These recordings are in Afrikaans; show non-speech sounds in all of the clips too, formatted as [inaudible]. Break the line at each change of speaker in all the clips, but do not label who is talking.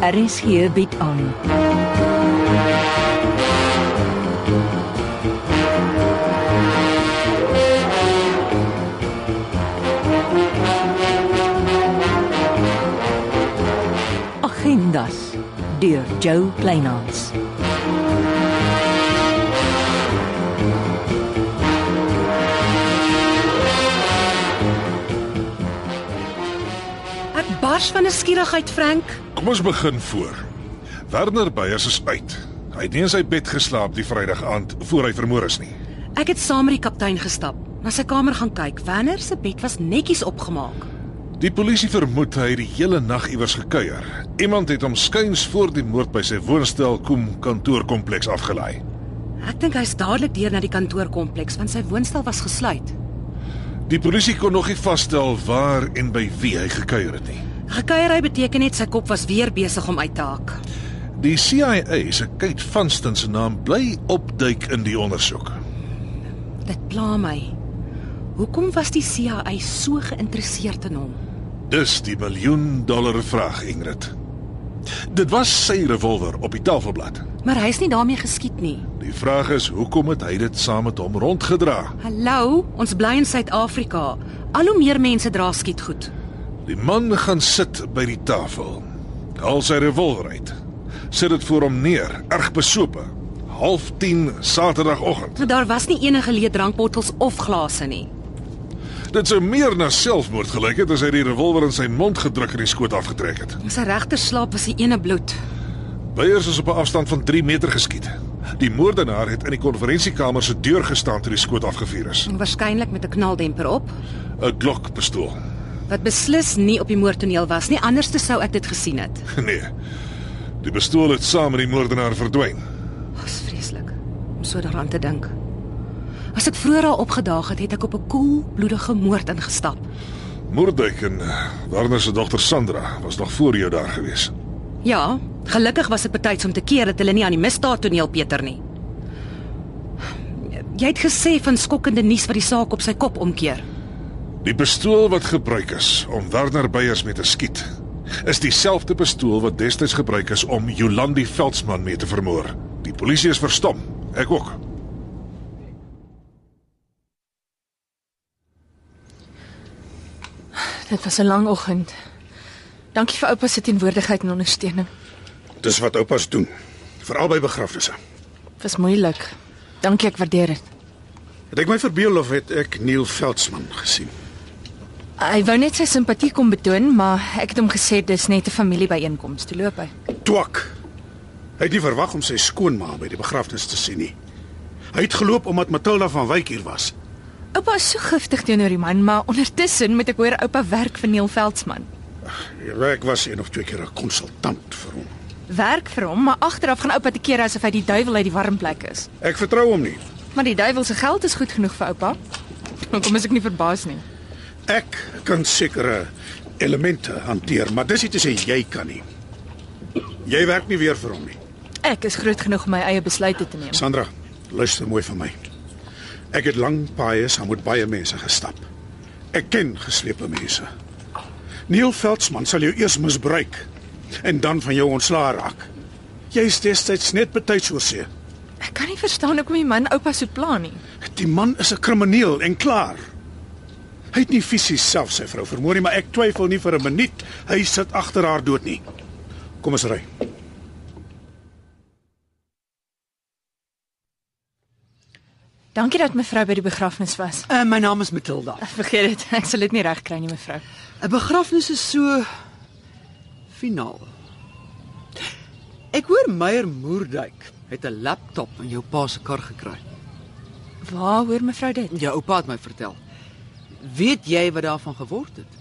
RSG bied aan. Agendas deur Jo Kleinhans.
Ek bars van 'n skierigheid, Frank.
Kom ons begin voor. Werner Beyers is uit. Hy het nie in sy bed geslaap die Vrydag aand voor hy vermoor is nie.
Ek het saam met die kaptein gestap, na sy kamer gaan kyk. Werner se bed was netjies opgemaak.
Die polisie vermoed hy het die hele nag iewers gekuier. Iemand het hom skuins voor die moord by sy woonstel kom kantoorkompleks afgelaai.
Ek dink hy's dadelik deur na die kantoorkompleks want sy woonstel was gesluit.
Die polisie kon nog nie vasstel waar en by wie hy gekuier het nie.
Gekuierery beteken net sy kop was weer besig om uit te haak.
Die CIA se Kate Vanston se naam bly opduik in die ondersoek.
Dit pla my. Hoekom was die CIA so geïnteresseerd in hom?
Dis die miljoen dollar vraag, Ingrid. Dit was sy revolver op die tafelblad.
Maar hy's nie daarmee geskiet nie.
Die vraag is hoekom het hy dit saam met hom rondgedra?
Hallo, ons bly in Suid-Afrika. Al hoe meer mense dra skietgoed.
Die man gaan sit by die tafel. Haal sy revolver uit. Sit dit voor hom neer, erg besope. Half 10 Saterdagoggend.
Maar daar was nie enige leë drankbottels of glase nie.
Dit sou meer na selfmoord gelyk het as hy die revolver in sy mond gedruk en die skoot afgetrek het.
Sy regter slaap was die ene bloed.
Beyers is op 'n afstand van 3 meter geskiet. Die moordenaar het in die konferensiekamer se deur gestaan toe die skoot afgevuur is.
Waarskynlik met 'n knaldemper op,
'n Glock-pistool.
wat beslis nie op die moordtoneel was nie, anders te sou ek dit gesien het.
[laughs] Nee. Die pistool het saam met die moordenaar verdwyn.
Was vreeslik om so daaraan te dink. As ek vroeër al opgedaag het, het ek op 'n koelbloedige moord ingestap.
Moordwyk en Werner se dogter Sandra was nog voor jou daar gewees.
Ja, gelukkig was ek betyds om te keer dat hulle nie aan die misdaadtoneel Peter nie. Jy het gesê van skokkende nuus wat die saak op sy kop omkeer.
Die pistool wat gebruik is om Werner Beyers mee te skiet, is dieselfde pistool wat destyds gebruik is om Jolandi Veldsmann mee te vermoor. Die polisie is verstom, ek ook.
Dit was 'n lang oggend. Dankie vir oupa se teenwoordigheid en ondersteuning.
Dis wat oupas doen, veral by begrafnisse.
Dit was moeilik. Dankie, ek waardeer dit.
Het ek my verbeel of het ek Neil Veldsmann gesien?
Hy wou net sy simpatie kom betoon, maar ek het hom gesê dis net 'n familiebyeenkoms. Toe loop hy.
Twak. Hy het nie verwag om sy skoonma by die begrafnis te sien nie. Hy het geloop omdat Matilda van Wyk hier was.
Oupa is so giftig teenoor die man, maar ondertussen moet ek hoor oupa werk vir Neil Veldsmann.
Ja, Ek was een of twee keer 'n konsultant vir hom.
Werk vir hom, maar agteraf gaan oupa te kere asof hy die duiwel uit die warm plek is.
Ek vertrou hom nie.
Maar die duiwel se geld is goed genoeg vir oupa. [laughs] Hoekom is ek nie verbaas nie?
Ek kan sekere elemente hanteer, maar dis nie te sê jy kan nie. Jy werk nie weer vir hom nie.
Ek is groot genoeg om my eie besluite te neem.
Sandra, luister mooi vir my. Ek het lank paaie saam met baie mense gestap. Ek ken geslepe mense. Neil Veldsmann sal jou eers misbruik en dan van jou ontslaa raak. Jy is destyds net betyds oor see.
Ek kan nie verstaan hoekom die man oupa so pla nie.
Die man is 'n krimineel en klaar. Hy het nie fisies self sy vrou vermoor nie, maar ek twyfel nie vir 'n minuut hy sit agter haar dood nie. Kom ons ry.
Dankie dat mevrou by die begrafnis was.
Uh, my naam is Matilda.
Vergeet dit, [laughs] ek sal dit nie regkry nie mevrou.
'n Begrafnis is so finaal. Ek hoor Meyer Moerdijk het 'n laptop in jou pa se kar gekry.
Waar hoor mevrou dit?
Jou oupa het my vertel. Weet jy wat daarvan geword het?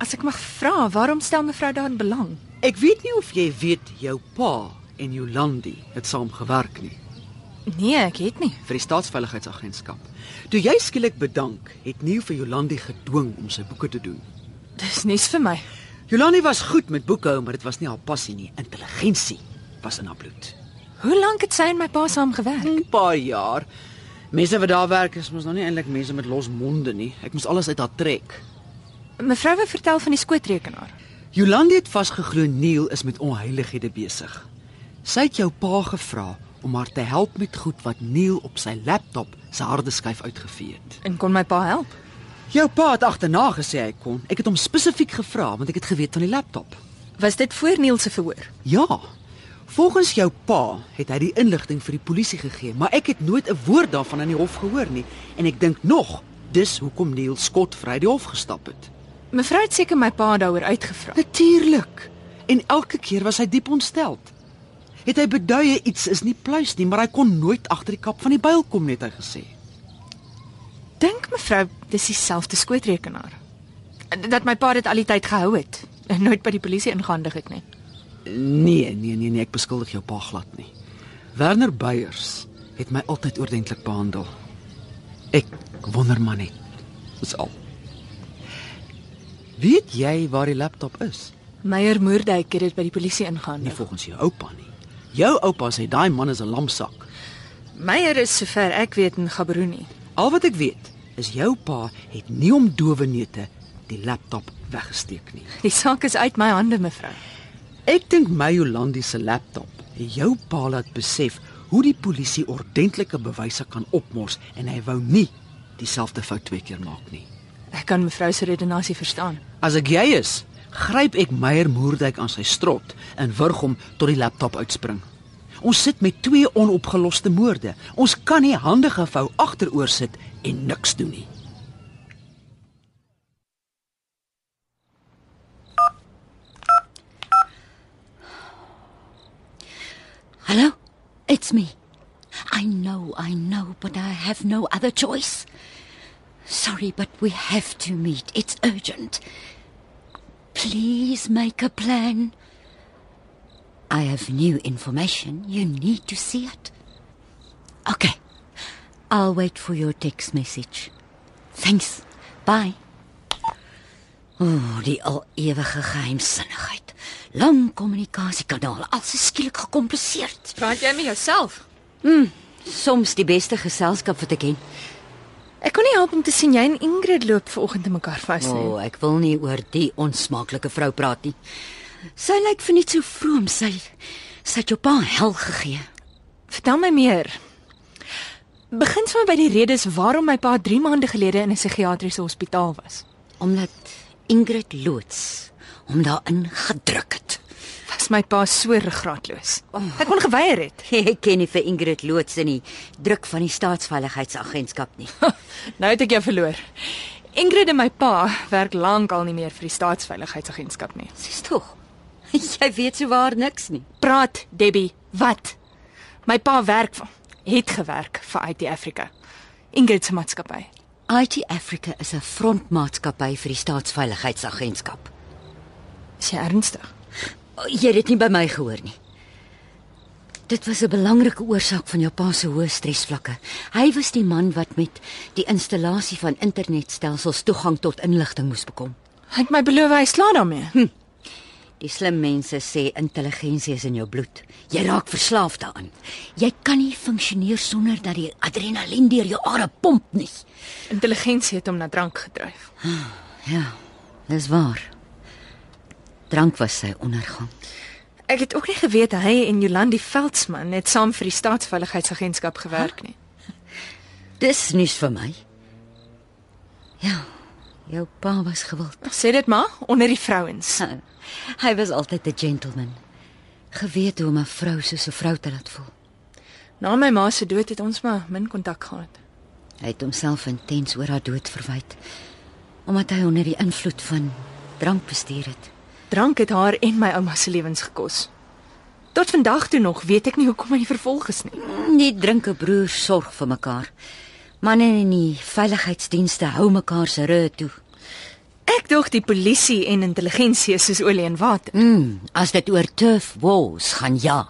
As ek mag vra, waarom stel mevrou daarin belang?
Ek weet nie of jy weet jou pa en Jolandi het saam gewerk nie
Nee, ek het nie.
vir die staatsveiligheidsagentskap. Toe jy skielik bedank, het Neil vir Jolandi gedwing om sy boeke te doen.
Dis nuus vir my.
Jolandi was goed met boekhou, maar dit was nie haar passie nie. Intelligensie was in haar bloed.
Hoe lank het sy en my pa saam gewerk?
'n paar jaar. Mense wat daar werk is mos nog nie eintlik mense met los monde nie. Ek moes alles uit haar trek.
Mevrou wou vertel van die skootrekenaar.
Jolande het vasgeglo Neil is met onheilighede besig. Sy het jou pa gevra om haar te help met goed wat Neil op sy laptop se hardeskyf uitgevee het.
En kon my pa help?
Jou pa het agterna gesê hy kon. Ek het hom spesifiek gevra want ek het geweet van die laptop.
Was dit voor Neil se verhoor?
Ja. Volgens jou pa het hy die inligting vir die polisie gegee, maar ek het nooit 'n woord daarvan aan die hof gehoor nie en ek dink nog dis hoekom Neil skotvry die hof gestap het.
Mevrou het seker my pa daaroor uitgevra.
Natuurlik. En elke keer was hy diep ontsteld. Het hy beduie iets is nie pluis nie, maar hy kon nooit agter die kap van die byl kom net hy gesê.
Dink mevrou, dis dieselfde skootrekenaar. Dat my pa dit al die tyd gehou het en nooit by die polisie ingehandig het nie.
Nee, nee, nee, nee, ek beskuldig jou pa glad nie. Werner Beyers het my altyd oordentlik behandel. Ek wonder maar net. Dis al. Weet jy waar die laptop is?
Meyer Moerdijk het dit by die polisie ingehandig.
Nie volgens jou oupa nie. Jou oupa sê daai man is 'n lamsak.
Meyer is sover ek weet in Gaborone.
Al wat ek weet is jou pa het nie om dowe neute die laptop weggesteek nie.
Die saak is uit my hande mevrou.
Ek dink my Jolandi se laptop het jou pa laat besef hoe die polisie ordentlike bewyse kan opmors en hy wou nie dieselfde fout twee keer maak nie.
Ek kan mevrou se redenasie verstaan.
As ek jy is, gryp ek Meyer Moerdijk aan sy strot en wurg hom tot die laptop uitspring. Ons sit met twee onopgeloste moorde. Ons kan nie hande gevou agteroor sit en niks doen nie.
Hello? It's me. I know, I know, but I have no other choice. Sorry, but we have to meet. It's urgent. Please make a plan. I have new information. You need to see it. Okay. I'll wait for your text message. Thanks. Bye. O, die al ewige geheimsinnigheid. Lang kommunikasiekanale, alles is skielik gekompliseerd.
Praat jy met jouself?
Soms die beste geselskap wat ek ken.
Ek kon nie help om te sien jy en Ingrid loop vanoggend te mekaar vas
O,
nie.
oh, ek wil nie oor die onsmaaklike vrou praat nie. Sy lyk vir net so vroom, sy sy het jou pa hel gegee.
Vertel my meer. Begin sommer by die redes waarom my pa 3 maande gelede in 'n psigiatriese hospitaal was.
Omdat Ingrid loods hom daarin gedruk het. [laughs]
Was my pa so graatloos. Ek kon geweier het.
Ek ken nie vir Ingrid loods in die druk van die staatsveiligheidsagentskap nie.
Nou het ek jou verloor. Ingrid en my pa werk lankal nie meer vir die staatsveiligheidsagentskap nie.
Dis tog. [laughs] Jy weet sou waar niks nie.
Praat, Debbie, wat? My pa werk vir- het gewerk vir IT Africa. Ingrid se maatskappy.
IT Africa is 'n frontmaatskappy vir die staatsveiligheidsagentskap.
Is jy ernstig?
O, Oh, Jy het dit nie by my gehoor nie. Dit was 'n belangrike oorsaak van jou pa se hoë stresvlakke. Hy was die man wat met die installasie van internetstelsels toegang tot inligting moes bekom.
Hy het my beloof hy sla daarmee. Hm,
Die slim mense sê intelligensie is in jou bloed. Jy raak verslaaf daaraan. Jy kan nie funksioneer sonder dat die adrenalien deur jou are pomp nie.
Intelligensie het hom na drank gedryf.
Ja, dis waar. Drank was sy ondergang.
Ek het ook nie geweet hy en Jolandi Veldsmann het saam vir die staatsveiligheidsagentskap gewerk nie.
Dis nuus vir my. Ja, jou pa was gewild.
Sê dit maar onder die vrouens.
Nou, Hy was altyd 'n gentleman. Geweet hoe om 'n vrou soos 'n vrou te laat voel.
Na my ma se dood het ons maar min kontak gehad.
Hy het homself intens oor haar dood verwyd omdat hy onder die invloed van drank bestuur het.
Drank het haar en my ouma se lewens gekos. Tot vandag toe nog weet ek nie hoekom hy nie vervolg is nie.
Die drinke broers sorg vir mekaar. Manne in die veiligheidsdienste hou mekaar se rug toe.
Ek dog die polisie en intelligensie is soos olie en water.
Mm, as dit oor turf walls gaan ja.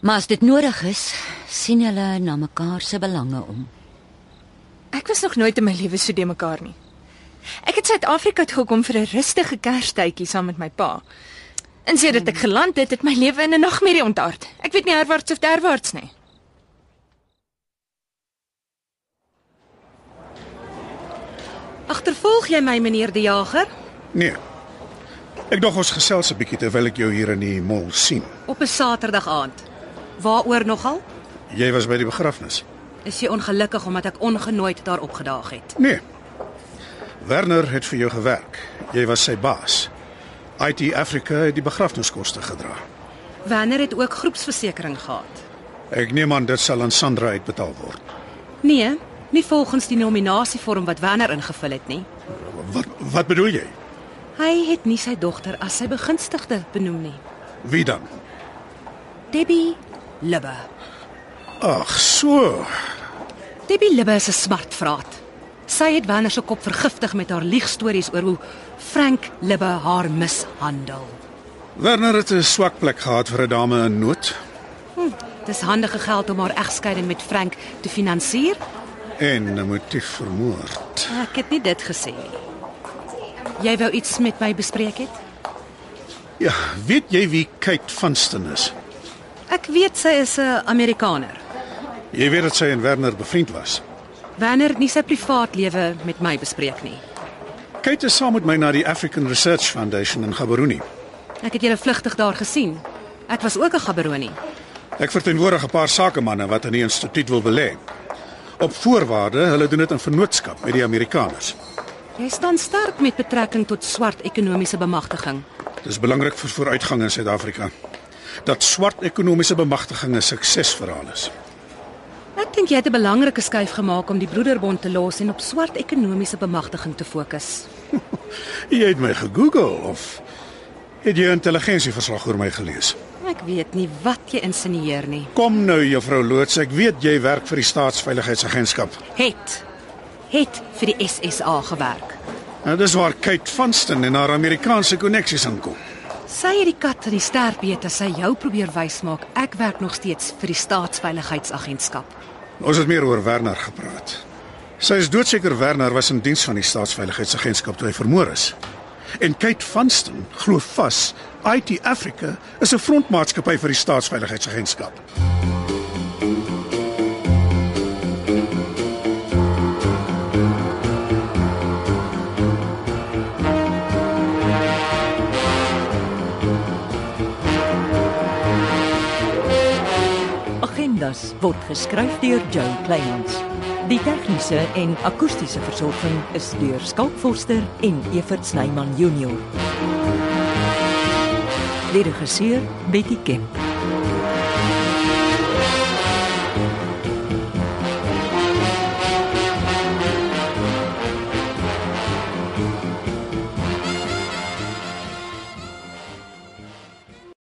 Maar as dit nodig is, sien hulle na mekaar se belange om.
Ek was nog nooit in my lewe so de mekaar nie. Ek het Suid-Afrika toe gekom vir 'n rustige Kerstydjie saam met my pa. En sedert ek geland het, het my lewe in 'n nagmerrie ontaard. Ek weet nie herwaarts of derwaarts nie.
Agtervolg jy my meneer die Jager?
Nee. Ek dog ons gesels 'n bietjie terwyl ek jou hier in die mall sien.
Op 'n Saterdag aand. Waaroor nogal?
Jy was by die begrafnis.
Is jy ongelukkig omdat ek ongenooid daar opgedaag het?
Nee. Werner het vir jou gewerk. Jy was sy baas. IT Africa het die begrafniskoste gedra.
Wanneer het ook groepsversekering gehad?
Ek neem aan dit sal aan Sandra uitbetaal word.
Nee, nie volgens die nominasievorm wat Wanner ingevul het nie.
Wat wat bedoel jy?
Hy het nie sy dogter as sy begunstigde benoem nie.
Wie dan?
Debbie Libbe.
Ag, so.
Debbie Libbe is 'n smart vraat. Sy het Wanner se kop vergiftig met haar liegstories oor hoe Frank Libbe haar mishandel.
Werner het 'n swak plek gehad vir 'n dame in nood
Dis handige geld om haar egskeiding met Frank te finansier.
en 'n motief vir moord.
Ek het nie dit gesê nie. Jy wou iets met my bespreek het?
Ja, weet jy wie Kate Vanston is?
Ek weet sy is 'n Amerikaner.
Jy weet dat sy en Werner bevriend was.
Wanneer het nie sy privaatlewe met my bespreek nie.
Kate is saam met my na die African Research Foundation in Gaborone.
Ek het julle vlugtig daar gesien. Ek was ook 'n gaberoni.
Ek verteenwoordig 'n paar sakemanne wat aan die instituut wil belê. Op voorwaarde hulle doen dit in vennootskap met die Amerikaners.
Jy staan sterk met betrekking tot swart ekonomiese bemagtiging.
Dis belangrik vir vooruitgang in Suid-Afrika dat swart ekonomiese bemagtiging 'n suksesverhaal is.
Ek dink jy het 'n belangrike skuif gemaak om die broederbond te los en op swart ekonomiese bemagtiging te fokus.
Jy het my gegoogel of het jy 'n intelligensieverslag oor my gelees?
Ek weet nie wat jy insinieer nie.
Kom nou juffrou Loots, ek weet jy werk vir die Staatsveiligheidsagentskap.
Het het vir die SSA gewerk.
Nou dis waar Kate Vanston en haar Amerikaanse koneksies aankom.
Sy het die kat in die sterp weet as sy jou probeer wysmaak ek werk nog steeds vir die staatsveiligheidsagentskap.
Ons het meer oor Werner gepraat. Sy is doodseker Werner was in diens van die Staatsveiligheidsagentskap toe hy vermoor is. En Kate Vanston glo vas IT Africa is 'n frontmaatskappy vir die Staatsveiligheidsagentskap.
Agendas word geskryf deur Joe Kleinhans. Die tegniese en akoestiese versorging is deur Skalk Forster en Evert Snyman Junior. Die regisseur Betty Kemp.